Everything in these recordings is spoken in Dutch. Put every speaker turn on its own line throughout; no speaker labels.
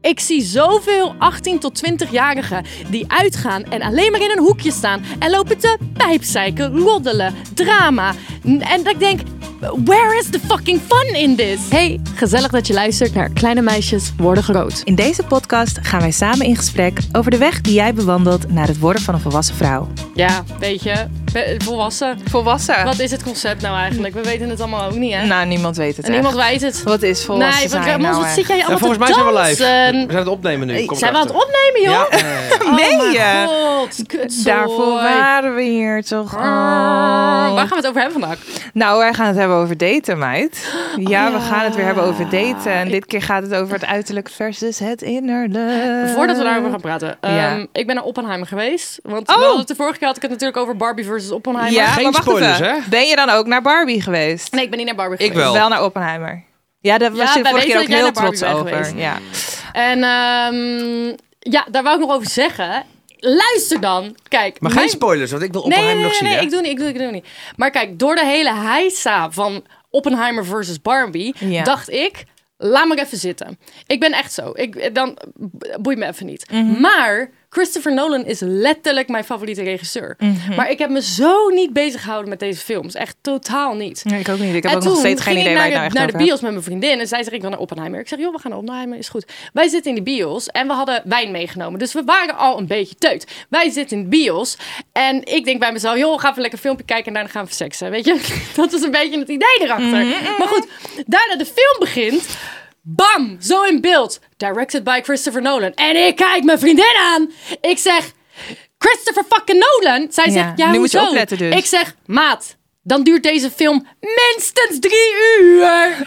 Ik zie zoveel 18 tot 20-jarigen die uitgaan en alleen maar in een hoekje staan en lopen te pijpzeiken, roddelen, drama. N- En dat ik denk, where is the fucking fun in this? Hey, gezellig dat je luistert naar Kleine Meisjes Worden Groot.
In deze podcast gaan wij samen in gesprek over de weg die jij bewandelt naar het worden van een volwassen vrouw.
Ja, weet je, be- volwassen.
Volwassen?
Wat is het concept nou eigenlijk? We weten het allemaal ook niet, hè?
Nou, niemand weet het
en niemand weet het.
Wat is volwassen
nee,
zijn
want Ramon,
nou
wat
echt?
zit jij allemaal
Ja, volgens mij
te
zijn we live. We
dansen?
zijn het opnemen nu. Kom
Zijn we aan het
erachter.
opnemen, joh?
Ja, ja, ja, ja.
Nee, eh,
Oh, God, kutzooi.
daarvoor waren we hier toch al.
Waar gaan Ah, we het over hebben vandaag?
Nou, wij gaan het hebben over daten, meid. Ja, we
Oh, ja.
gaan het weer hebben over daten. En dit keer gaat het over het uiterlijk versus het innerlijk.
Voordat we daarover gaan praten. ehm,
ja.
Ik ben naar Oppenheimer geweest. Want
Oh!
we hadden het de vorige keer had ik het natuurlijk over Barbie versus Oppenheimer.
Ja,
Geen
maar wacht
spoilers,
even.
hè?
Ben je dan ook naar Barbie geweest?
Nee, ik ben niet naar Barbie
Ik
geweest.
wel.
Wel naar Oppenheimer. Ja, daar
Ja,
was je de
wij
vorige keer
weten
ook
dat jij
heel
naar Barbie
trots
bent
over.
geweest.
Ja.
En ehm, ja, daar wou ik nog over zeggen. Luister dan. Kijk.
Maar
mijn-
geen spoilers, want ik wil
Nee,
Oppenheimer
nee, nee,
nog zien.
nee,
hè?
ik doe niet, ik doe, ik doe niet. Maar kijk, door de hele heisa van Oppenheimer versus Barbie,
Ja.
dacht ik, laat me even zitten. Ik ben echt zo. Ik, dan boeit me even niet.
Mhm.
Maar Christopher Nolan is letterlijk mijn favoriete regisseur.
Mhm.
Maar ik heb me zo niet bezig gehouden met deze films. Echt totaal niet.
Nee, ik ook niet. Ik heb
En
ook nog
toen
steeds geen
ging
idee
ik naar
waar je
de,
nou echt
naar
over
de
hebt.
bios met mijn vriendin. En zij zei, ik wil naar Oppenheimer. Ik zeg, joh, we gaan naar Oppenheimer, is goed. Wij zitten in de bios en we hadden wijn meegenomen. Dus we waren al een beetje teut. Wij zitten in de bios en ik denk bij mezelf, joh, ga even lekker een filmpje kijken en daarna gaan we seksen. Weet je, dat is een beetje het idee erachter.
Mm-hmm.
Maar goed, daarna de film begint. Bam, zo in beeld. Directed by Christopher Nolan. En ik kijk mijn vriendin aan. Ik zeg, Christopher fucking Nolan. Zij
Ja,
zegt, ja,
nu moet je
hoezo?
opletten dus.
Ik zeg, maat, dan duurt deze film minstens drie uur.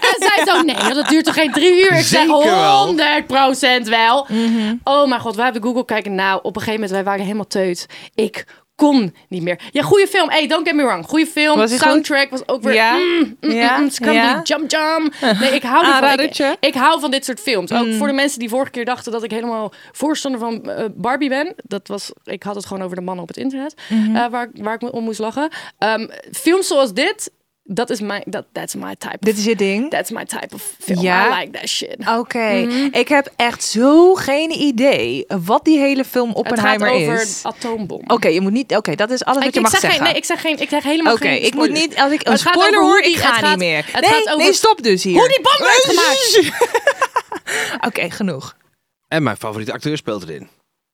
en zij zo, nee, dat duurt toch geen drie uur? Ik zeg,
Zeker wel.
100 procent wel.
Mhm.
Oh mijn god, wij hebben Google kijken. Nou, op een gegeven moment, wij waren helemaal teut. Ik kon niet meer. Ja, goede film. Hey, don't get me wrong. Goede film.
Was die goed?
Soundtrack was ook weer...
Ja?
mm, mm,
Ja?
mm, scrumbly,
Ja?
jump jump. Nee, ik hou niet van. Ik,
Aanradertje? Mm.
ik hou van dit soort films. Ook voor de mensen die vorige keer dachten dat ik helemaal voorstander van eh, Barbie ben. Dat was, ik had het gewoon over de mannen op het internet.
Mhm.
eh, waar, ik- waar ik me om moest lachen. Ehm, films zoals dit, dat is mijn, dat that's my type.
Dit is je ding?
That's my type of film.
Ja? Oh,
I like that shit.
Oké,
Mm-hmm.
ik heb echt zo geen idee wat die hele film
Het gaat
Oppenheimer
over
is.
een atoombom.
Oké, je moet niet. Oké, dat is alles wat
ik,
je
ik
mag
zeg
zeggen.
Geen, nee, ik zeg geen, ik zeg helemaal
Oké,
geen
ik moet
spoilers.
niet. Als ik een
Het gaat
spoiler
over hoe
hoor,
die-
ik
het
ga
gaat-
niet meer.
het
nee,
gaat over-
nee, stop dus hier.
Hoe die bom werd gemaakt.
Oké, genoeg.
En mijn favoriete acteur speelt erin.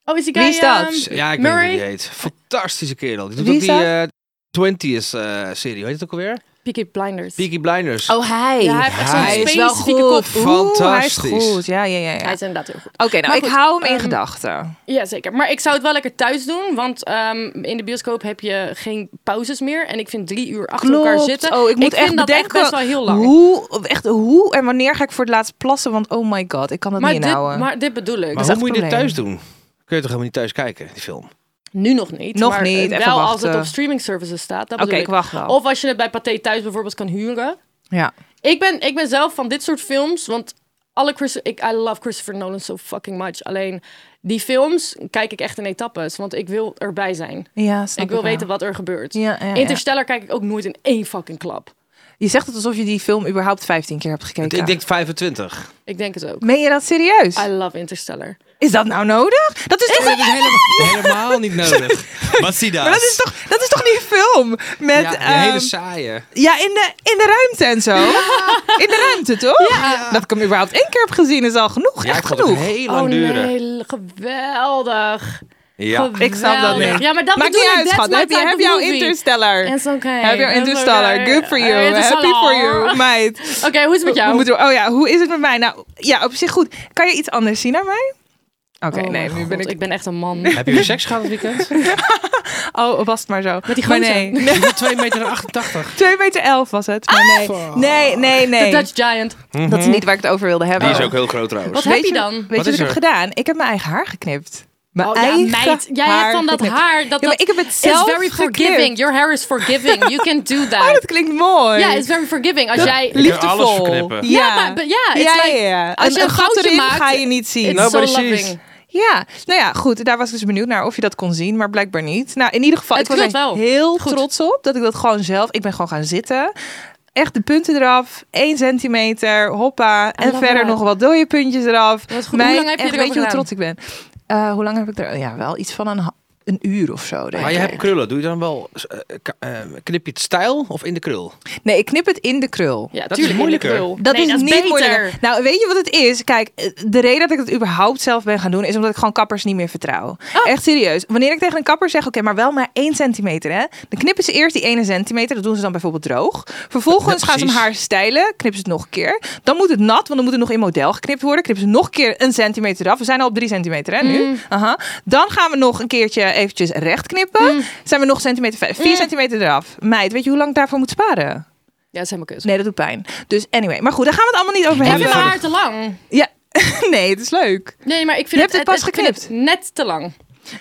Oh, is die guy...
Wie is dat?
ehm,
Ja, ik
Murray?
weet niet hoe die heet. Fantastische kerel. Die doet
Wie
ook
is
die
dat?
eh 20s eh, serie. Hoe heet het ook alweer?
Peaky Blinders.
Peaky Blinders.
Oh, hij.
Ja, hij heeft echt zo'n
Hij
is wel
specifieke
goed.
kop.
Oeh, hij is
Fantastisch.
goed. Ja, ja, ja. ja.
Hij
Oké,
is inderdaad heel goed.
nou,
Maar
ik
goed,
hou hem in
ehm,
gedachten.
Ja, zeker. Maar ik zou het wel lekker thuis doen. Want ehm, in de bioscoop heb je geen pauzes meer. En ik vind drie uur achter elkaar zitten.
Oh, ik moet echt
vind dat
bedenken.
echt best wel heel lang.
Hoe, echt, hoe en wanneer ga ik voor het laatst plassen? Want oh my god, ik kan dat
maar,
niet
dit,
inhouden.
maar dit bedoel ik. Dus
Maar
is
hoe
echt
moet je
een
dit thuis
probleem.
doen? Kun je toch helemaal niet thuis kijken, die film?
Nu nog niet.
Nog
maar
niet,
eh,
even
Wel als
wachten.
het op streaming services staat. dat
Oké,
bedoel
ik wacht wel.
Of als je het bij Pathé thuis bijvoorbeeld kan huren.
ja.
Ik ben, ik ben zelf van dit soort films, want alle Chris, ik I love Christopher Nolan so fucking much. Alleen die films kijk ik echt in etappes, want ik wil erbij zijn.
Ja, snap
ik wil
wel.
weten wat er gebeurt.
Ja, ja, ja.
Interstellar kijk ik ook nooit in één fucking klap.
Je zegt het alsof je die film überhaupt 15 keer hebt gekeken.
Ik denk 25.
Ik denk het ook.
Meen je dat serieus?
I love Interstellar.
Is dat nou nodig? Dat is, toch
Oh, Dat is helemaal, helemaal niet nodig. Wat zie
Maar dat is toch, dat is toch die film met
Ja, een
ehm,
hele saaie.
ja in de in de ruimte en zo. In de ruimte toch? Dat ik hem überhaupt één keer heb gezien is al genoeg.
Ja, het
echt
gaat ook
genoeg.
heel lang
oh
duren.
nee, geweldig.
Ja.
Ik snap dat
Geweldig.
niet.
Ja, maar dat
Maakt
bedoel
niet
ik.
uit,
that's
schat.
my
Heb je
type
heb
of
jouw
movie.
interstellar.
It's okay.
Heb jouw
It's
interstellar.
okay.
Good for you.
Interstellar.
Happy for you, meid.
Oké, hoe is het met jou?
Hoe moeten we- oh ja, hoe is het met mij? Nou, ja, op zich goed. Kan je iets anders zien aan mij? Oké,
Oh
nee,
mijn
nu ben
God,
ik...
ik ben echt een man.
Heb je weer seks gehad het weekend?
Oh, was het maar zo.
Met die
maar
gozer.
nee.
Die is 2 meter 88.
2 meter 11 was het. Maar nee.
Ah!
nee, nee, nee.
De Dutch Giant.
Dat is niet waar ik het over wilde hebben.
Mhm. Die is ook heel groot trouwens.
Wat heb
Weet
je
Weet
dan?
je wat,
is
ik heb
er?
gedaan? Ik heb mijn eigen haar geknipt. Mijn
Oh ja,
eigen
meid. Jij hebt van dat
geknipt.
haar. Dat,
Ja, maar
dat
ik heb het
It's
zelf
very forgiving.
geknipt.
Your hair is forgiving. You can do that.
Oh, dat klinkt mooi.
Ja, it's very forgiving. Als jij...
kan
liefdevol.
alles verknippen.
Ja, maar- maar ja, it's like- als
Een-
je een
een gat
foutje
erin
maakt,
ga je niet zien.
It's so
Nobody sees.
loving.
Ja, nou ja, goed. Daar was ik dus benieuwd naar of je dat kon zien, maar blijkbaar niet. Nou, in ieder geval,
Het
ik was
knult
er
wel.
heel
Goed.
trots op dat ik dat gewoon zelf... Ik ben gewoon gaan zitten. Echt de punten eraf. 1 centimeter, hoppa. En
love
verder
that.
nog wat dode puntjes eraf.
Wat goed. Hoe lang heb je
echt,
erover
Weet je hoe
gedaan?
trots ik ben? Eh, hoe lang heb ik er... Ja, wel iets van een, ha- een uur of zo, denk
Maar je
ik.
hebt krullen. Doe je dan wel... eh, ka- eh, knip je het stijl of in de krul?
Nee, ik knip het in de krul.
Ja,
Dat is
tuurlijk. in de
moeilijker.
krul.
Dat
Nee,
is niet
beter.
moeilijker. Nou, weet je wat het is? Kijk, eh, de reden dat ik het überhaupt zelf ben gaan doen... is omdat ik gewoon kappers niet meer vertrouw. Echt serieus. Wanneer ik tegen een kapper zeg... oké, maar wel maar één centimeter, hè? Dan knippen ze eerst die ene centimeter. Dat doen ze dan bijvoorbeeld droog. Vervolgens
Ja,
gaan ze hem
precies.
haar stijlen. Knippen ze het nog een keer. Dan moet het nat, want dan moet het nog in model geknipt worden. Knippen ze nog een keer een centimeter af. We zijn al op drie centimeter, hè, nu? Aha. Dan gaan we nog een keertje eventjes recht knippen. Zijn we nog een centimeter... verder. Vier centimeter eraf. Meid, weet je hoe lang ik daarvoor moet sparen?
Ja, dat is helemaal kut.
Nee, dat doet pijn. Dus anyway, maar goed, daar gaan we het allemaal niet over
Ik
hebben.
vind mijn haar te lang.
Ja, nee, het is leuk.
Nee, maar ik vind
Je hebt het pas
ik vind
geknipt.
net te lang.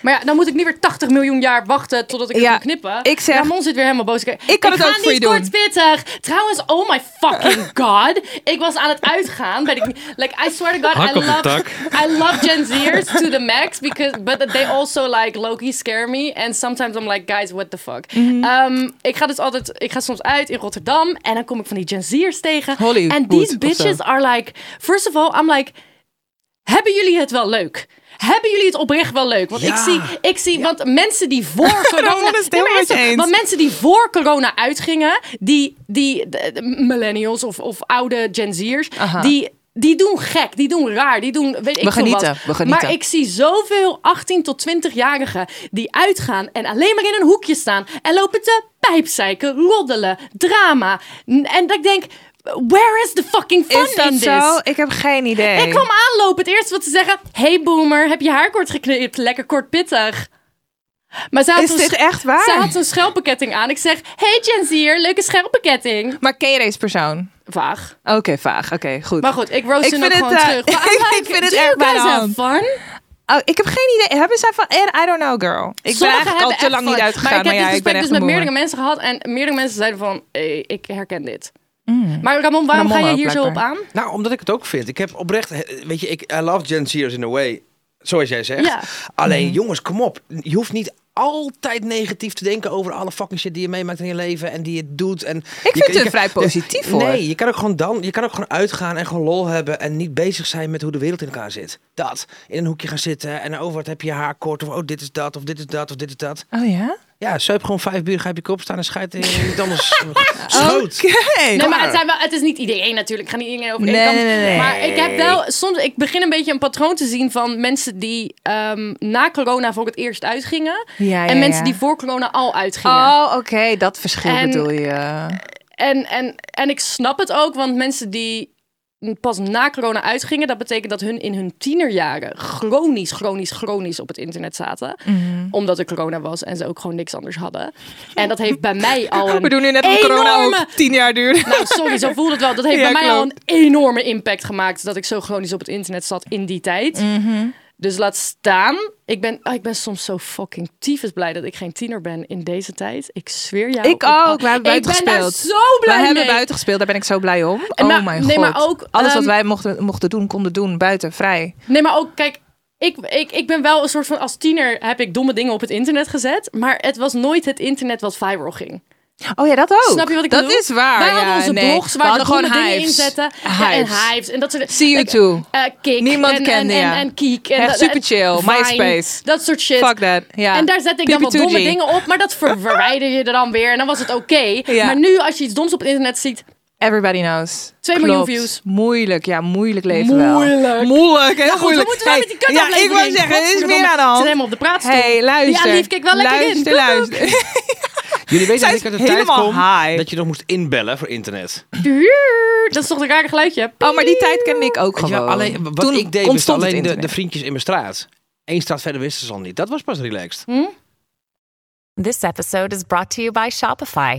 Maar ja, dan moet ik niet weer 80 miljoen jaar wachten totdat ik het
Ja,
kan knippen.
ik zeg-
Ramon zit weer helemaal boos. Ik
Ik kan het ook
ga
voor je
niet
doen.
kortpittig. Trouwens, oh my fucking god. Ik was aan het uitgaan. Ben ik, like, I swear to god,
Hak
I
op de
love,
tak.
I love Gen Z'ers to the max. Because, but they also like low-key scare me. And sometimes I'm like, guys, what the fuck.
Mhm.
Ehm, ik ga dus altijd, ik ga soms uit in Rotterdam. En dan kom ik van die Gen Z'ers tegen.
Hollywood
En these
of zo.
bitches are like, first of all, I'm like, hebben jullie het wel leuk? Hebben jullie het oprecht wel leuk? Want ik zie, ik zie want mensen die voor corona.
Ramon is het
Nee, maar
helemaal
is
met je
zo.
eens.
Want mensen die voor corona uitgingen, die, die de- de millennials of, of oude Gen Z'ers,
Aha.
die. Die doen gek, die doen raar, die doen weet ik veel
genieten,
wat.
we genieten.
Maar ik zie zoveel 18 tot 20-jarigen die uitgaan en alleen maar in een hoekje staan en lopen te pijpzeiken, roddelen, drama. N- En dat ik denk, where is the fucking fun
Is dat
in this?
zo? Ik heb geen idee.
Ik kwam aanlopen. Het eerste wat ze zeggen. Hey boomer, heb je haar kort geknipt? Lekker kort pittig. Maar ze had
Is
een
dit
sch-
echt waar?
Ze had een schelpenketting aan. Ik zeg, hey Gen Z'er, leuke schelpenketting.
Maar ken je deze persoon?
Vaag.
Oké, vaag. Oké, goed.
Maar goed, ik roast
Ik
hun ook
vind
gewoon
het, eh,
terug. Maar I'm
ik
like,
vind het
do you
erg bij de
guys
hand.
have fun?
Oh, ik heb geen idee. Hebben zij van... I don't know, girl. Ik ben
Sommigen
eigenlijk al
hebben
te
echt
lang niet
fun.
uitgegaan.
Maar ik heb
ja,
dit
ik
gesprek
ben echt
dus
een
met meerdere
boomer.
mensen gehad. En meerdere mensen zeiden van, eh, ik herken dit. Maar Ramon, waarom
Mm. Ramon
ga je
ook,
hier zo op
blijkbaar.
aan?
Nou, omdat ik het ook vind. Ik heb oprecht, eh, weet je, ik I love Gen Z'ers in a way, zoals jij zegt.
Ja.
Alleen jongens, kom op. Je hoeft niet altijd negatief te denken over alle fucking shit die je meemaakt in je leven en die je doet. En
Ik vind het vrij positief, hoor.
Nee, je kan ook gewoon dan, je kan ook gewoon uitgaan en gewoon lol hebben en niet bezig zijn met hoe de wereld in elkaar zit. Dat in een hoekje gaan zitten en over wat heb je je haar kort of oh dit is dat of dit is dat of dit is dat.
Oh ja?
Ja, zuip gewoon vijf bier, ga op je kop staan en scheid in je- niet anders. Schoot.
Oké.
Nee, maar
Waar?
het, zijn wel, het is niet iedereen natuurlijk. Ik ga niet iedereen over één
Nee,
kant.
nee, nee, nee.
Maar ik heb wel soms. Ik begin een beetje een patroon te zien van mensen die ehm, na corona voor het eerst uitgingen.
Ah, Ja,
en
ja,
mensen
ja.
die voor corona al uitgingen.
Oh, oké. Dat verschil
En-
bedoel je.
En, en, en ik snap het ook, want mensen die pas na corona uitgingen, dat betekent dat hun in hun tienerjaren chronisch, chronisch, chronisch op het internet zaten.
Mhm.
Omdat er corona was en ze ook gewoon niks anders hadden. En dat heeft bij mij al een
We doen nu net een corona
enorme
ook tien jaar duurde.
Nou, sorry, zo voelde het wel. Dat heeft
Ja,
bij mij al
klopt.
een enorme impact gemaakt. Dat ik zo chronisch op het internet zat in die tijd.
Mhm.
Dus laat staan. Ik ben, ah, ik ben soms zo fucking tyfus blij dat ik geen tiener ben in deze tijd. Ik zweer jou.
Ik
op al-
ook. We hebben
ik
buiten
ben
gespeeld.
Daar zo blij
we
mee.
hebben buiten gespeeld, daar ben ik zo blij om.
En
Oh
maar-
mijn god.
nee, maar ook,
Alles wat
ehm,
wij mochten, mochten doen, konden doen, buiten, vrij.
Nee, maar ook, kijk, ik, ik, ik ben wel een soort van... Als tiener heb ik domme dingen op het internet gezet. Maar het was nooit het internet wat viral ging.
Oh ja, dat ook.
Snap je wat ik
dat
bedoel?
is waar.
Wij
ja,
hadden onze
nee.
blogs
We
waar we
hadden
gewoon
gewoon
dingen
hives.
inzetten. Ja, en
Hives.
hives. En dat soort
See you too.
eh Kik.
Niemand
en,
kende
en,
je.
en, en Kiek. En,
Echt
dat-
super
en
chill.
Vine,
MySpace.
Dat soort shit.
Fuck that. Ja.
En daar zet ik dan wat domme
Pipi-toeji.
dingen op. Maar dat ver- verwijder je er dan weer. En dan was het oké.
Ja.
Maar nu, als je iets doms op het internet ziet...
Everybody knows.
Twee
Klopt.
miljoen views.
Moeilijk, ja, moeilijk leven
Moeilijk.
wel. Moeilijk. Heel
Nou goed,
moeilijk.
we moeten wel met die kut
ja, ik wou zeggen, er is meer aan de
Ze
hand.
zijn helemaal op de praatstoel.
hey, luister.
Ja, lief, kijk wel lekker
luister,
in. Koek, koek.
Luister,
Jullie weten
Zij
dat ik
is
uit de tijd
helemaal
kom
high.
dat je nog moest inbellen voor internet.
Duur. Dat is toch een rare geluidje?
Oh, maar die tijd ken ik ook
Weet je
gewoon.
wel, alleen, wat
Toen
ik deed was
ontstond het
alleen de, de
internet. Hm,
vriendjes in mijn straat. Eén straat verder wisten ze al niet. Dat was pas relaxed.
This episode is brought to you by Shopify.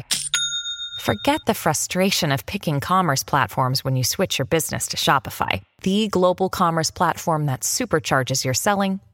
Forget the frustration of picking commerce platforms when you switch your business to Shopify, the global commerce platform that supercharges your selling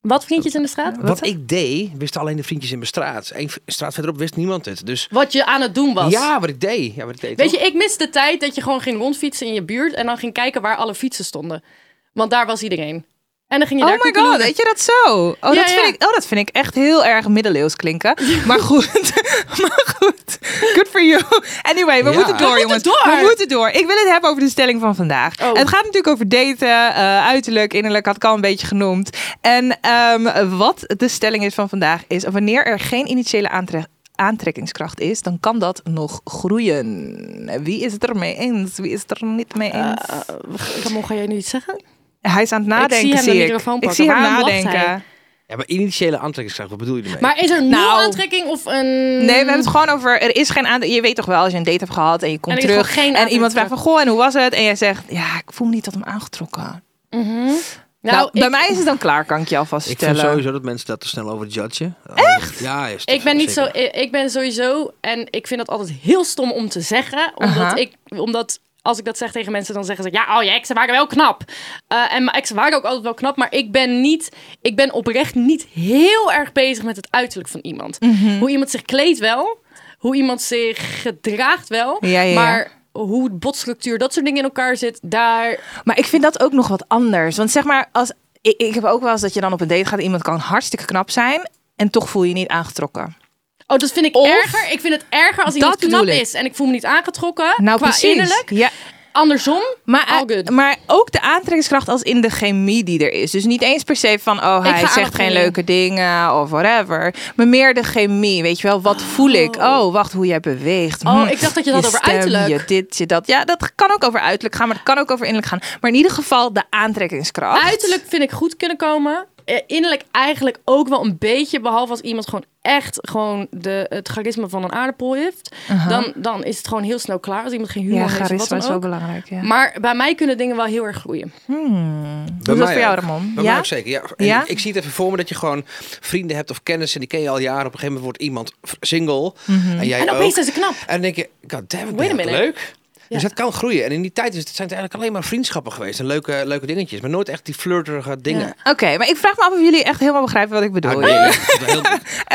Wat vriendjes in de straat?
Wat ik deed, wisten alleen de vriendjes in mijn straat. Eén v- straat verderop wist niemand het. Dus
Wat je aan het doen was.
ja, wat ik deed. Ja, wat ik deed
Weet
toch?
je, ik mis de tijd dat je gewoon ging rondfietsen in je buurt en dan ging kijken waar alle fietsen stonden. Want daar was iedereen. En dan ging je
Oh
daar
my god,
koekeloeren.
weet je dat zo? Oh,
Ja,
dat
ja.
vind ik, oh, dat vind ik echt heel erg middeleeuws klinken. Maar goed, maar goed. Good for you. Anyway, we
Ja.
moeten door,
We
jongens.
door.
We moeten door. Ik wil het hebben over de stelling van vandaag.
Oh.
Het gaat natuurlijk over daten, eh, uiterlijk, innerlijk, had ik al een beetje genoemd. En ehm, wat de stelling is van vandaag is: wanneer er geen initiële aantre- Aantrekkingskracht is, dan kan dat nog groeien. Wie is het er mee eens? Wie is het er niet mee
Eh,
eens?
Dan mocht jij nu iets zeggen?
hij is aan het
zie
nadenken.
hem de
zie ik.
microfoon
ik
pakken.
zie hem
Waarom lacht
nadenken.
hij?
Ja, maar initiële aantrekkingskracht, wat bedoel je ermee?
Maar is er
Nou.
nul aantrekking of een...
Nee, we hebben het gewoon over. Er is geen aandacht. Je weet toch wel, als je een date hebt gehad en je komt
En er is
terug.
gewoon geen
en
aandacht
iemand vraagt van
terug.
goh, en hoe was het? En jij zegt, ja, ik voel me niet tot hem aangetrokken. Nou,
Nou, ik,
bij mij is het dan klaar, kan ik je alvast
ik
vertellen.
vind sowieso dat mensen dat te snel over judgen. Echt? Ja, is
ik ben niet zo...
zeker.
Ik ik ben sowieso... En ik vind dat altijd heel stom om te zeggen. Omdat
Aha.
ik... Omdat... Als ik dat zeg tegen mensen, dan zeggen ze... Ja, oh, je exen waren wel knap. Eh, en mijn exen waren ook altijd wel knap. Maar ik ben niet... Ik ben oprecht niet heel erg bezig met het uiterlijk van iemand.
Mhm.
Hoe iemand zich kleedt wel. Hoe iemand zich gedraagt wel.
Ja, ja, ja.
Maar hoe botstructuur, dat soort dingen in elkaar zit... Daar
Maar ik vind dat ook nog wat anders. Want zeg maar, als, ik, ik heb ook wel eens dat je dan op een date gaat. Iemand kan hartstikke knap zijn. En toch voel je je niet aangetrokken.
Oh, dat vind ik
Of-
erger. Ik vind het erger als iemand
bedoel
knap
ik.
is en ik voel me niet aangetrokken.
Nou,
qua
precies.
innerlijk.
Ja,
Andersom.
maar, eh,
All good.
maar ook de aantrekkingskracht als in de chemie die er is. Dus niet eens per se van, oh,
ga
hij
aan
zegt
het
geen
voelen.
leuke dingen of whatever. Maar meer de chemie, weet je wel. Wat voel ik? Oh, wacht, hoe jij beweegt.
Oh,
Hm,
ik dacht dat je het had over
stem,
uiterlijk.
Je dit, je dat. Ja, dat kan ook over uiterlijk gaan, maar dat kan ook over innerlijk gaan. Maar in ieder geval de aantrekkingskracht.
Uiterlijk vind ik goed kunnen komen. Eh, Innerlijk eigenlijk ook wel een beetje. Behalve als iemand gewoon echt gewoon de, het charisma van een aardappel heeft. dan, dan is het gewoon heel snel klaar. Als iemand geen humor
Ja,
heeft of wat
charisma
dan
is wel
ook.
belangrijk. Ja.
Maar bij mij kunnen dingen wel heel erg groeien.
Bij
Hoe is dat
mij
voor jou,
ook.
Ramon?
Bij
Ja?
mij ook zeker. Ja. En
Ja?
Ik, ik zie het even voor me dat je gewoon vrienden hebt of kennissen. Die ken je al jaren. Op een gegeven moment wordt iemand f- single.
Mhm.
En jij
En
ook.
opeens zijn ze knap.
En dan denk je, god damn, ik
Wait a
ben echt
minute.
leuk. Dus dat kan groeien. En in die tijd is het, zijn het eigenlijk alleen maar vriendschappen geweest. En leuke, leuke dingetjes. Maar nooit echt die flirterige dingen.
Oké, maar ik vraag me af of jullie echt helemaal begrijpen wat ik
Ah,
bedoel.
nee, dat is wel heel-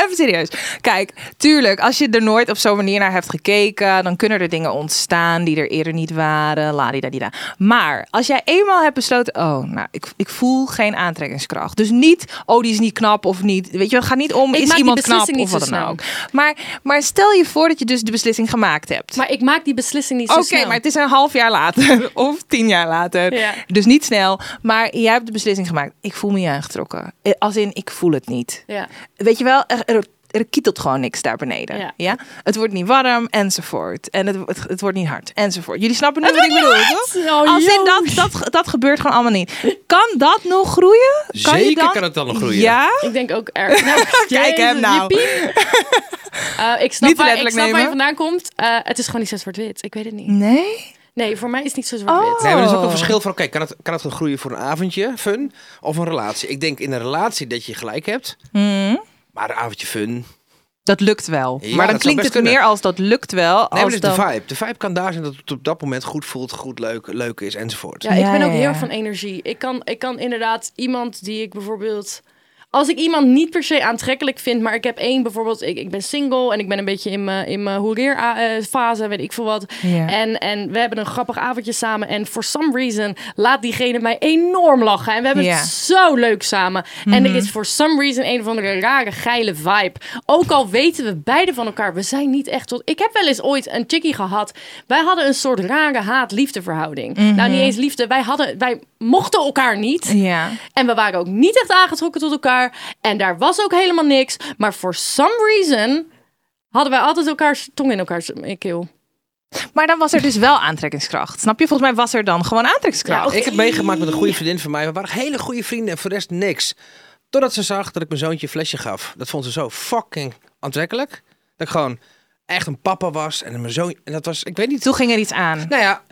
Even serieus. Kijk, tuurlijk, als je er nooit op zo'n manier naar hebt gekeken, dan kunnen er dingen ontstaan die er eerder niet waren. Ladidadida. Maar als jij eenmaal hebt besloten, oh, nou, ik, ik voel geen aantrekkingskracht. Dus niet, oh, die is niet knap of niet. Weet je, wel, het gaat niet om,
Ik maak
is
die
iemand knap
beslissing
of
niet
wat
zo
dan
snel.
ook. Maar, maar stel je voor dat je dus de beslissing gemaakt hebt.
Maar ik maak die beslissing niet zo
Oké,
snel.
maar het is een half jaar later of tien jaar later.
Ja.
Dus niet snel. Maar jij hebt de beslissing gemaakt. Ik voel me niet aangetrokken. Eh, Als in, ik voel het niet.
Ja.
Weet je wel, er, er, er kietelt gewoon niks daar beneden. Ja.
Ja.
Het wordt niet warm, enzovoort. En het, het, het wordt niet hard, enzovoort. Jullie snappen nu wat ik bedoel, toch?
Oh,
Als in
joh.
dat, dat, dat gebeurt gewoon allemaal niet. Kan dat nog groeien? Kan je
Zeker
dan-
kan het dan nog groeien.
Ja?
Ik denk ook erg. Nou,
Kijk hem
jezus,
nou.
jippie. Eh, ik snap,
Niet te
waar, ik
letterlijk
snap waar je
nemen.
vandaan komt. Eh, het is gewoon niet zo zwart-wit. Ik weet het niet.
Nee?
Nee, voor mij is het niet zo zwart-wit.
Mm. Oh.
Nee, maar er is ook een verschil van, oké, kan, het, kan het groeien voor een avondje fun of een relatie? Ik denk in een relatie dat je gelijk hebt,
Mhm.
maar een avondje fun.
Dat lukt wel.
Ja,
maar dan
dat zou
klinkt
best
het
kunnen.
meer als dat lukt wel.
Nee, maar
als
dus
dan...
de vibe. De vibe kan daar zijn dat het op dat moment goed voelt, goed leuk, leuk is enzovoort.
Ja, ik
Ja,
ben ook
ja,
heel
ja.
erg van energie. Ik kan, ik kan inderdaad iemand die ik bijvoorbeeld... Als ik iemand niet per se aantrekkelijk vind, maar ik heb één bijvoorbeeld... Ik, ik ben single en ik ben een beetje in mijn, in mijn hoereerfase, weet ik veel wat.
Ja.
En, en we hebben een grappig avondje samen. En for some reason laat diegene mij enorm lachen. En we hebben
Ja.
het zo leuk samen. En
Mhm.
er is for some reason een of andere rare, geile vibe. Ook al weten we beide van elkaar, we zijn niet echt tot... Ik heb wel eens ooit een chickie gehad. Wij hadden een soort rare haat-liefde verhouding. Nou, niet eens liefde. Wij, hadden, wij mochten elkaar niet.
Mhm. Ja.
En we waren ook niet echt aangetrokken tot elkaar. En daar was ook helemaal niks. Maar for some reason hadden wij altijd elkaars tong in elkaars keel.
Maar dan was er dus wel aantrekkingskracht. Snap je? Volgens mij was er dan gewoon aantrekkingskracht.
Ja,
Ik heb meegemaakt met een goede vriendin van mij. We waren hele goede vrienden en voor de rest niks. Totdat ze zag dat ik mijn zoontje een flesje gaf. Dat vond ze zo fucking aantrekkelijk. Dat ik gewoon echt een papa was. En mijn zoon. En dat was, ik weet niet.
Toen ging er iets aan.
Nou ja,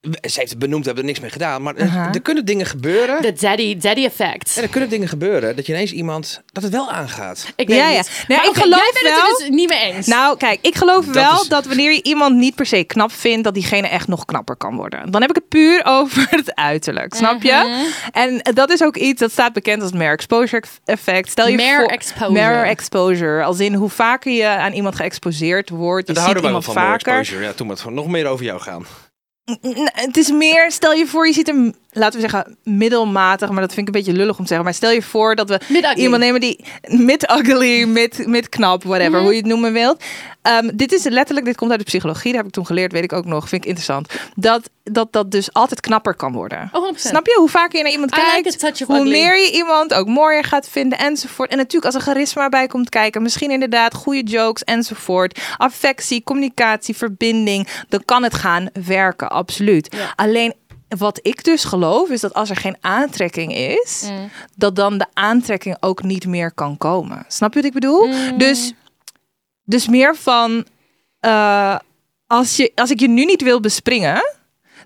we- ze heeft het benoemd, we hebben er niks mee gedaan. Maar er-
Aha.
er kunnen dingen gebeuren.
De daddy, daddy effect.
En er kunnen dingen gebeuren dat je ineens iemand. dat het wel aangaat.
Ik weet
Ja,
het
ja.
niet.
Nee,
Maar
ik
oké,
geloof
jij bent
wel-
het dus niet mee eens.
Nou, kijk, ik geloof
Dat
wel
is-
dat wanneer je iemand niet per se knap vindt, dat diegene echt nog knapper kan worden. Dan heb ik het puur over het uiterlijk, snap je?
Mhm.
En dat is ook iets dat staat bekend als mirror exposure effect. Stel je
Mirror
voor,
exposure.
Mirror exposure, als in hoe vaker je aan iemand geëxposeerd wordt, je
Daar
ziet
houden wij wel
iemand
van.
vaker.
Exposure. Ja, toen moet het nog meer over jou gaan.
N- Nou, Het is meer, stel je voor, je ziet hem, laten we zeggen, middelmatig, maar dat vind ik een beetje lullig om te zeggen. Maar stel je voor dat we
Mid-ugly.
iemand nemen die mid-ugly, mid, mid-knap, whatever,
Mhm.
hoe je het noemen wilt. Ehm, dit is letterlijk, dit komt uit de psychologie, dat heb ik toen geleerd, weet ik ook nog, vind ik interessant. Dat dat, dat dus altijd knapper kan worden.
Oh, 100%.
Snap je? Hoe vaker je naar iemand
I like
kijkt,
a touch of
hoe
ugly.
meer je iemand ook mooier gaat vinden enzovoort. En natuurlijk als er charisma bij komt kijken, misschien inderdaad goede jokes enzovoort. Affectie, communicatie, verbinding, dan kan het gaan werken, absoluut. Alleen wat ik dus geloof is dat als er geen aantrekking is,
Mm.
dat dan de aantrekking ook niet meer kan komen. Snap je wat ik bedoel?
Mm.
Dus, dus meer van eh, als, je, als ik je nu niet wil bespringen,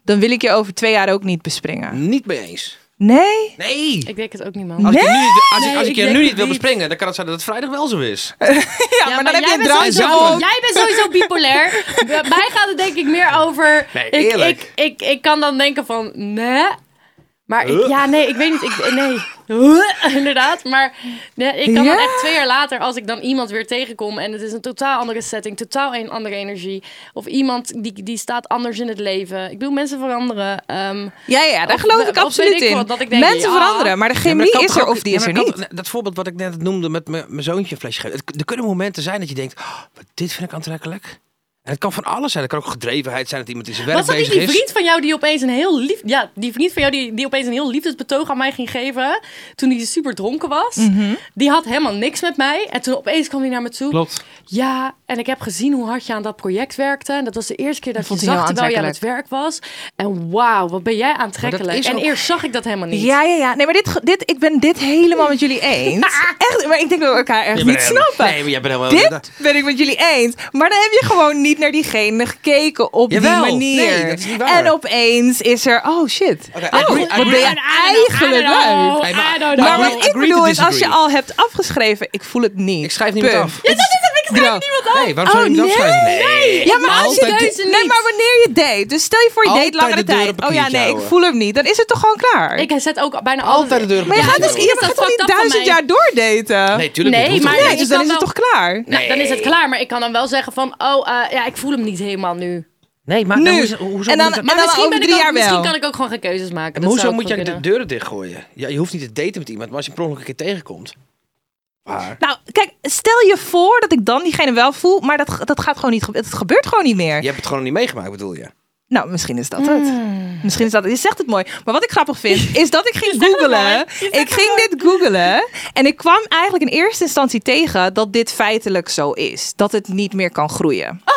dan wil ik je over twee jaar ook niet bespringen.
Niet mee eens.
Nee?
Nee!
ik denk het ook niet, man.
Als ik je nu niet, als ik,
Nee,
als ik
ik
je
denk
nu
het
niet wil
niet.
bespringen, dan kan het zijn dat het vrijdag wel zo is.
Ja, maar, dan heb je een drankje
sowieso,
op.
Jij bent sowieso bipolair. Bij mij gaat het denk ik meer over...
Nee,
ik,
eerlijk.
Ik, ik, ik kan dan denken van, nee. Maar ik,
Huh?
ja, nee, ik weet niet. Ik, nee, Huh, inderdaad. Maar nee, ik kan
Ja.
dan echt twee jaar later, als ik dan iemand weer tegenkom... en het is een totaal andere setting, totaal een andere energie... of iemand die, die staat anders in het leven. Ik bedoel, mensen veranderen. ehm,
Ja, ja, daar
Of-
geloof
of
ik
weet
absoluut
ik
in.
wat, dat ik denk,
Mensen
ja.
veranderen, maar de
Ja, maar
chemie
dat kan
is er
toch ook-
of die
ja,
is
maar
er
dat
niet.
kan- Dat voorbeeld wat ik net noemde met mijn mijn zoontje een flesje geven. Het- Er kunnen momenten zijn dat je denkt, "Oh, maar dit vind ik aantrekkelijk. En het kan van alles zijn. Het kan ook gedrevenheid zijn dat iemand in zijn werk
Was dat niet
bezig
die
is.
vriend van jou die opeens een heel lief, ja, die vriend van jou die, die opeens een heel liefdesbetoog aan mij ging geven toen hij super dronken was?
Mhm.
Die had helemaal niks met mij en toen opeens kwam hij naar me toe.
Klopt.
Ja, en ik heb gezien hoe hard je aan dat project werkte en dat was de eerste keer dat,
vond
je
hij heel
zag terwijl je aan het werk was. En wauw, wat ben jij aantrekkelijk?
is
En
ook-
eerst zag ik dat helemaal niet.
Ja, ja, ja. Nee, maar dit, ge- dit, ik ben dit helemaal met jullie eens. Echt, maar ik denk dat we elkaar echt niet snappen.
Nee, maar jij bent helemaal...
Dit ben ik met jullie eens. Maar dan heb je gewoon niet naar diegene gekeken op
Jawel.
die manier.
Nee, dat is niet waar.
En opeens is er, oh shit.
Oké, I
oh,
agree- I
wat ben
agree-
je eigenlijk
Oh.
leuk.
Hey, maar-
I don't
Maar
know.
agree-
wat ik
agree to
bedoel is, als je
disagree.
al hebt afgeschreven, ik voel het niet.
Ik schrijf niemand
Punt.
af.
Het is- Bro.
Nee, waarom zou je
Oh,
hem dat schrijven?
nee.
Nee.
Ja, maar als je
Altijd
dus-
de-
nee, maar wanneer je date. Dus stel je voor je
Altijd
date langere
de deur op
tijd.
een
Oh ja,
kiertje
nee, ik
houden.
voel hem niet. Dan is het toch gewoon klaar.
Ik zet ook bijna
Altijd de deur op
maar je
een
gaat dus
kiertje
je
iemand-
gaat
dat
toch
fucked
niet
up van
duizend
mij.
jaar doordaten.
Nee, tuurlijk
Nee,
niet. Hoeft
maar-
toch
Nee,
niet?
ik
dus
kan
dan is het
wel-
toch klaar.
Nou, dan is het
Nee.
klaar, maar ik kan dan wel zeggen van, oh, eh, ja, ik voel hem niet helemaal nu.
Nee, maar
Nu.
dan moet je- hoezo
En dan-
moet je-
maar-
Maar misschien, ben
over
ik
drie
ook-
jaar wel.
misschien kan ik ook gewoon geen keuzes maken.
En
Dat
hoezo
zou ook
moet
wel
jij de
kunnen.
deuren dichtgooien? Ja, je hoeft niet te daten met iemand, maar als je per ongeluk een keer tegenkomt. Waar?
Nou, kijk, stel je voor dat ik dan diegene wel voel, maar dat, dat gaat gewoon niet gebeuren. Het gebeurt gewoon niet meer.
Je hebt het gewoon niet meegemaakt, bedoel je?
Nou, misschien is dat het. Misschien is dat het. Je zegt het mooi. Maar wat ik grappig vind, is dat ik ging
Hmm. zegt het
googelen.
mooi.
Ik ging dit googelen. En ik kwam eigenlijk in eerste instantie tegen dat dit feitelijk zo is. Dat het niet meer kan groeien.
Ah.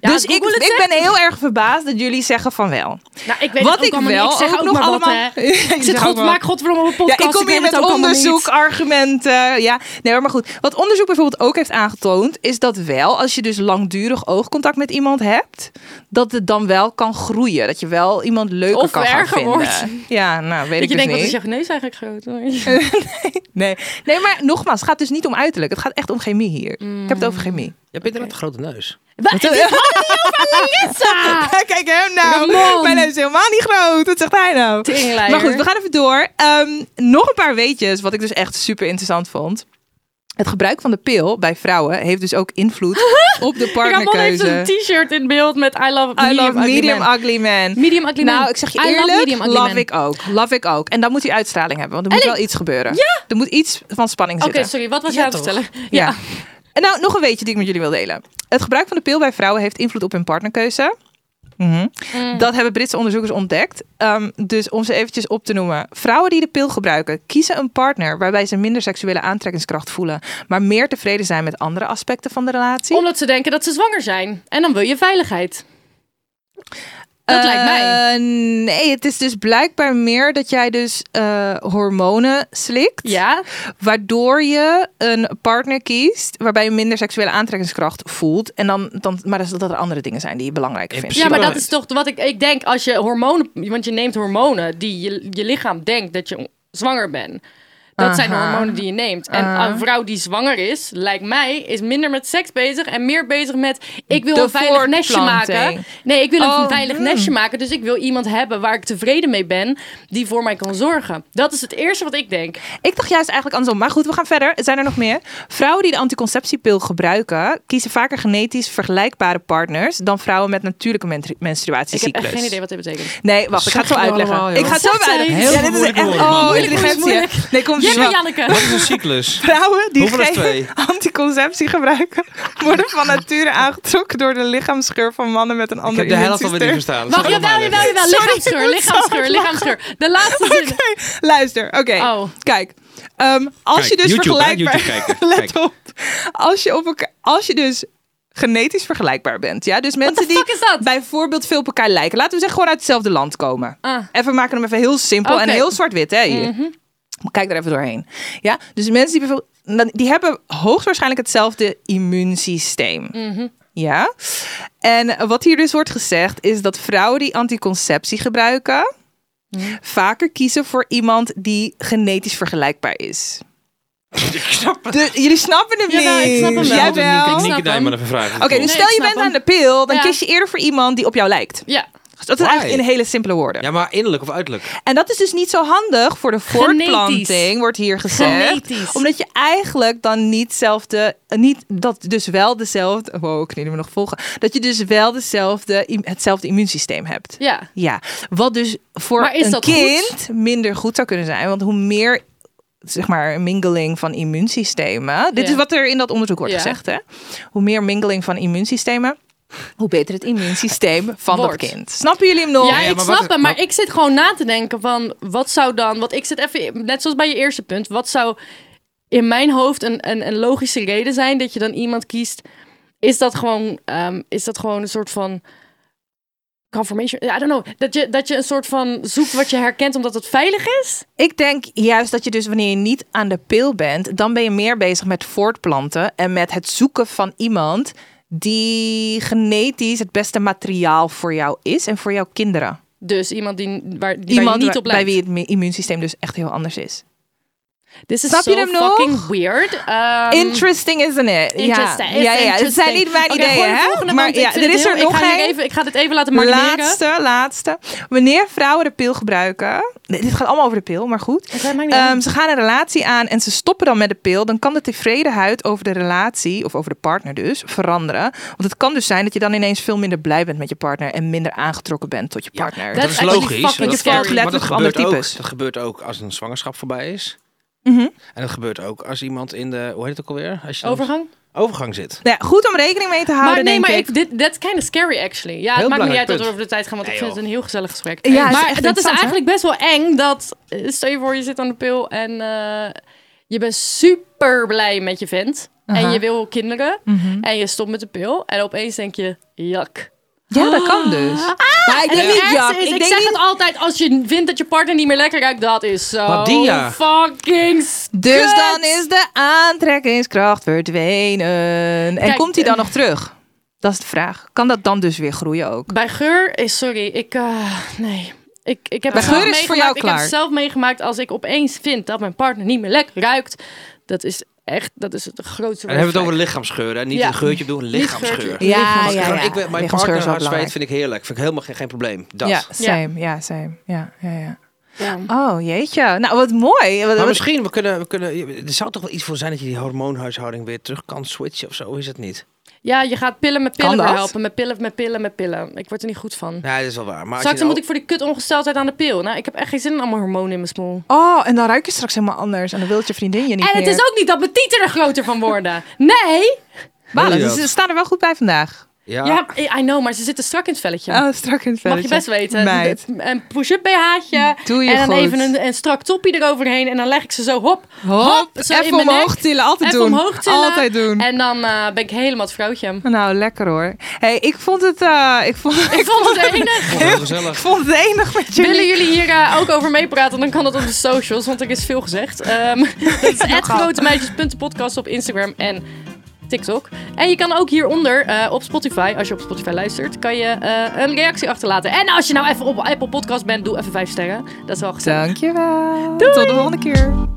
Ja,
dus ik,
Google het
ik
zegt.
ben heel erg verbaasd dat jullie zeggen van wel.
Nou, ik weet
Wat
het ook
ik
allemaal
wel
niet. Ik zeg
ook
ook
nog
nog
allemaal-
allemaal.
Ja, ik
Ik
zeg
zit
ook
goed,
wel.
maak godverdomme op een podcast.
Ja, ik kom hier
weet
met
het ook allemaal
onderzoek,
niet.
argumenten. Ja, nee, maar goed. Wat onderzoek bijvoorbeeld ook heeft aangetoond, is dat wel als je dus langdurig oogcontact met iemand hebt, dat het dan wel kan groeien. Dat je wel iemand leuker
Of
kan gaan
erger
vinden.
wordt.
Ja, nou weet
Dat
ik
je
dus
denkt, wat is
niet.
jouw neus eigenlijk groot? hoor.
nee. nee, maar nogmaals, het gaat dus niet om uiterlijk. Het gaat echt om chemie hier. Ik heb het over chemie.
Je hebt inderdaad een grote neus.
Wat? Dit gaat niet over
nou
Larissa!
Ja, kijk hem nou.
Ramon.
Mijn neus is helemaal niet groot. Wat zegt hij nou?
Teringleier.
Maar goed, we gaan even door. Ehm, nog een paar weetjes, wat ik dus echt super interessant vond. Het gebruik van de pil bij vrouwen heeft dus ook invloed op de
Ramon heeft
partnerkeuze.
een t-shirt in beeld met I love
I love
medium ugly
medium
men.
ugly man.
Medium ugly
Nou,
man.
ik zeg je
I love
eerlijk,
medium ugly
love
man.
ik ook. Love ik ook. En dan moet hij uitstraling hebben, want er moet
En ik-
wel iets gebeuren. Ja. Er moet iets van spanning
Oké,
zitten.
sorry, wat was
Ja,
jij aan het
toch?
vertellen?
Ja. En nou, nog een weetje die ik met jullie wil delen. Het gebruik van de pil bij vrouwen heeft invloed op hun partnerkeuze. Mhm. Dat hebben Britse onderzoekers ontdekt. Ehm, dus om ze eventjes op te noemen. Vrouwen die de pil gebruiken, kiezen een partner waarbij ze minder seksuele aantrekkingskracht voelen, maar meer tevreden zijn met andere aspecten van de relatie.
Omdat ze denken dat ze zwanger zijn. En dan wil je veiligheid. Dat lijkt mij.
Eh, Nee, het is dus blijkbaar meer dat jij dus eh, hormonen slikt.
Ja.
Waardoor je een partner kiest waarbij je minder seksuele aantrekkingskracht voelt. En dan, dan, maar dat, dat er andere dingen zijn die je belangrijker
In
vindt.
Ja, maar dat
Precies.
is toch wat ik, ik denk als je hormonen, want je neemt hormonen die je, je lichaam denkt dat je zwanger bent. Dat zijn de
Aha. Ah.
hormonen die je neemt. En een vrouw die zwanger is, lijkt mij, is minder met seks bezig en meer bezig met ik wil
De
een veilig nestje
voortplanting.
maken. Nee, ik wil
Oh,
een veilig
hmm.
nestje maken, dus ik wil iemand hebben waar ik tevreden mee ben, die voor mij kan zorgen. Dat is het eerste wat ik denk.
Ik dacht juist eigenlijk andersom. Maar goed, we gaan verder. Zijn er nog meer? Vrouwen die de anticonceptiepil gebruiken, kiezen vaker genetisch vergelijkbare partners dan vrouwen met natuurlijke men-
Ik heb
menstruatiecyclus.
echt geen idee wat dit betekent.
Nee, wacht, ik ga het zo
Zeg je nou
uitleggen.
allemaal,
ik ga het zo
joh? Zeg
uitleggen.
eens.
Ja, dit is
Moeilijk,
echt.
moeilijk.
Oh,
Moeilijk,
intelligentie.
moeilijk.
Nee, komt
Jelle,
zo.
Janneke.
Wat is een cyclus?
Vrouwen die
Hoeveel is
geen
twee?
anticonceptie gebruiken, worden van nature aangetrokken door de lichaamsgeur van mannen met een
Ik
ander
heb de helft alweer niet
immuunsysteem.
verstaan.
Wacht,
Zeg
jawel,
maar
jawel,
even.
jawel. Lichaamsgeur,
ik moet
lichaamsgeur,
zo
lichaamsgeur. De laatste zin.
Oké, luister. Oké,
Oh.
kijk. Ehm, als
Kijk,
je dus
YouTube, hè?
vergelijkbaar...
YouTube kijken.
Let
Kijk.
op. Als je, op elkaar, als je dus genetisch vergelijkbaar bent. Ja? Dus mensen die
fuck is dat?
bijvoorbeeld veel op elkaar lijken. Laten we zeggen gewoon uit hetzelfde land komen.
Ah.
Even maken hem even heel simpel en
Oké. Mhm.
heel zwart-wit. Hè, hier. Kijk er even doorheen. Ja? Dus mensen die bijvoorbeeld... dan- Die hebben hoogstwaarschijnlijk hetzelfde immuunsysteem.
Mhm.
Ja. En wat hier dus wordt gezegd is dat vrouwen die anticonceptie gebruiken
Hm.
vaker kiezen voor iemand die genetisch vergelijkbaar is.
Ik snap het.
De- jullie snappen hem
Jawel, nou, ik
niet.
snap hem wel.
Jij
Ik snap hem.
wel. Oké,
Ik neem maar even vragen.
dus
Nee,
stel
ik
je
snap
bent
hem.
aan de pil, dan
Ja.
kies je eerder voor iemand die op jou lijkt. Dus
Ja.
Dat is
Why?
eigenlijk in hele simpele woorden.
Ja, maar innerlijk of uiterlijk?
En dat is dus niet zo handig voor de voortplanting, wordt hier gezegd.
Genetisch.
Omdat je eigenlijk dan niet zelfde, niet dat dus wel dezelfde, wow, kunnen we nog volgen? Dat je dus wel dezelfde, im- hetzelfde immuunsysteem hebt.
Ja.
Ja, wat dus voor
Maar is
een
dat
kind
goed?
minder goed zou kunnen zijn. Want hoe meer, zeg maar, mingeling van immuunsystemen. Dit
Ja.
is wat er in dat onderzoek wordt
Ja.
gezegd, hè? Hoe meer mingeling van immuunsystemen, hoe beter het immuunsysteem van
Wordt.
dat kind. Snappen jullie hem nog?
Ja,
ja,
ik
maar
snap
wat-
hem, maar
wat-
ik zit gewoon na te denken van wat zou dan, want ik zit even, net zoals bij je eerste punt, wat zou in mijn hoofd een, een, een logische reden zijn dat je dan iemand kiest? Is dat gewoon, ehm, is dat gewoon een soort van confirmation? I don't know. Dat je, dat je een soort van zoekt wat je herkent omdat het veilig is?
Ik denk juist dat je dus wanneer je niet aan de pil bent, dan ben je meer bezig met voortplanten en met het zoeken van iemand die genetisch het beste materiaal voor jou is en voor jouw kinderen.
Dus iemand die, waar, die waar
Iemand
je niet
wa-
op lijkt.
bij wie het mi- immuunsysteem dus echt heel anders is.
This is
Snap je
so
hem nog?
fucking weird. Ehm,
Interesting, isn't it?
interesting,
Ja, ja, ja. Het zijn niet mijn
Oké,
ideeën,
gewoon de
hè?
volgende,
Maar
want ik
ja,
vind
er
het
is
heel-
er nog
ik ga hier
één.
Even, ik ga dit even laten marineren.
Laatste, laatste. Wanneer vrouwen de pil gebruiken. Nee, dit gaat allemaal over de pil, maar goed.
Oké, maakt niet uit.
Ehm, ze gaan een relatie aan en ze stoppen dan met de pil. Dan kan de tevredenheid over de relatie, of over de partner dus, veranderen. Want het kan dus zijn dat je dan ineens veel minder blij bent met je partner. En minder aangetrokken bent tot je partner.
dat-
Dat is
Actually
logisch.
fucking
want
scary.
maar
Letterlijk
dat
andere
gebeurt ook-
types.
Dat gebeurt ook als een zwangerschap voorbij is.
Mhm.
En dat gebeurt ook als iemand in de, hoe heet het ook alweer? Als je dan-
Overgang?
Overgang zit.
Nou ja, goed om rekening mee te houden,
maar nee,
denk
maar
ik.
ik, dit, that's kind of scary actually. Ja,
Heel
het maakt niet
belangrijk
uit dat we
punt.
over de tijd gaan, want ik
Nee,
vind
joh.
het een heel gezellig gesprek.
Ja, het is
maar dat
echt
is
interessant, hè?
eigenlijk best wel eng. Dat, eh, stel je voor, je zit aan de pil en eh, je bent super blij met je vent. En
Uh-huh.
je wil kinderen.
Mhm.
En je stopt met de pil. En opeens denk je, jak.
Ja, dat kan dus. maar ik
En
denk
Ah, het
niet,
ergste
Jack.
is,
Ik
ik,
denk
zeg
niet
het altijd, als je vindt dat je partner niet meer lekker ruikt, dat is zo
Wat die, ja.
fucking
Dus
kut.
dan is de aantrekkingskracht verdwenen. en
Kijk,
komt hij dan
eh,
nog terug? Dat is de vraag. Kan dat dan dus weer groeien ook?
Bij geur is, sorry, ik, eh, nee. Ik, ik heb
Bij
het zelf
geur is het voor
meegemaakt.
jou
Ik heb
klaar.
het zelf meegemaakt als ik opeens vind dat mijn partner niet meer lekker ruikt. Dat is echt, dat is het grootste.
En dan hebben we
red
het over
flag.
lichaamsgeur. Hè? Niet
Ja.
een geurtje doen, een
Niet
lichaamsgeur.
geurtje. Ja,
Als ik
ja,
gewoon- Ik, ben- mijn
Lichaamsgeur
partner
is wel
hartsvreet
belangrijk.
vind ik heerlijk. Vind ik helemaal geen, geen probleem. Dat.
Ja,
Ja.
same. Ja, same. Ja, ja, ja.
Ja.
Oh, jeetje. Nou, wat mooi. Wat-
Maar
wat-
misschien, we kunnen, we kunnen, er zou toch wel iets voor zijn dat je die hormoonhuishouding weer terug kan switchen of zo, is het niet?
Ja, je gaat pillen met
Kan
pillen weer
dat?
helpen. Met pillen, met pillen, met pillen. Ik word er niet goed van.
Ja, dat is wel waar. Maar als
Straks
je
dan moet
nou-
ik voor die kut ongesteldheid aan de pil. Nou, ik heb echt geen zin in allemaal hormonen in mijn smoel.
Oh, en dan ruik je straks helemaal anders. En dan wilt je vriendin je niet
En het
meer.
is ook niet dat mijn tieten er groter van worden. Nee,
Wow,
Wil je
dus
dat?
ze staan er wel goed bij vandaag.
Ja.
Ja, I know, maar ze zitten strak in het velletje.
Oh, strak in het
Mag je
velletje.
best weten.
Meid.
Een- Een push-up BH'tje.
Doe je
en dan
goed.
even een, een strak toppie eroverheen. En dan leg ik ze zo hop.
Hop,
zo in
even
mijn
omhoog
nek.
tillen. Altijd
Even
doen.
omhoog tillen.
Altijd doen.
En dan eh, ben ik helemaal het vrouwtje.
Nou, lekker hoor. hey, ik vond het... eh, ik vond,
Ik vond het enig.
Vond ik wel
ik
gezellig.
vond het enig met jullie.
Willen jullie hier eh, ook over meepraten? Dan kan dat op de socials, want er is veel gezegd. Ehm dat is grotemeisjes.podcast op Instagram en TikTok. En je kan ook hieronder eh, op Spotify, als je op Spotify luistert, kan je eh, een reactie achterlaten. En als je nou even op Apple Podcast bent, doe even vijf sterren. Dat is wel gezellig.
Dankjewel. Tot de volgende keer.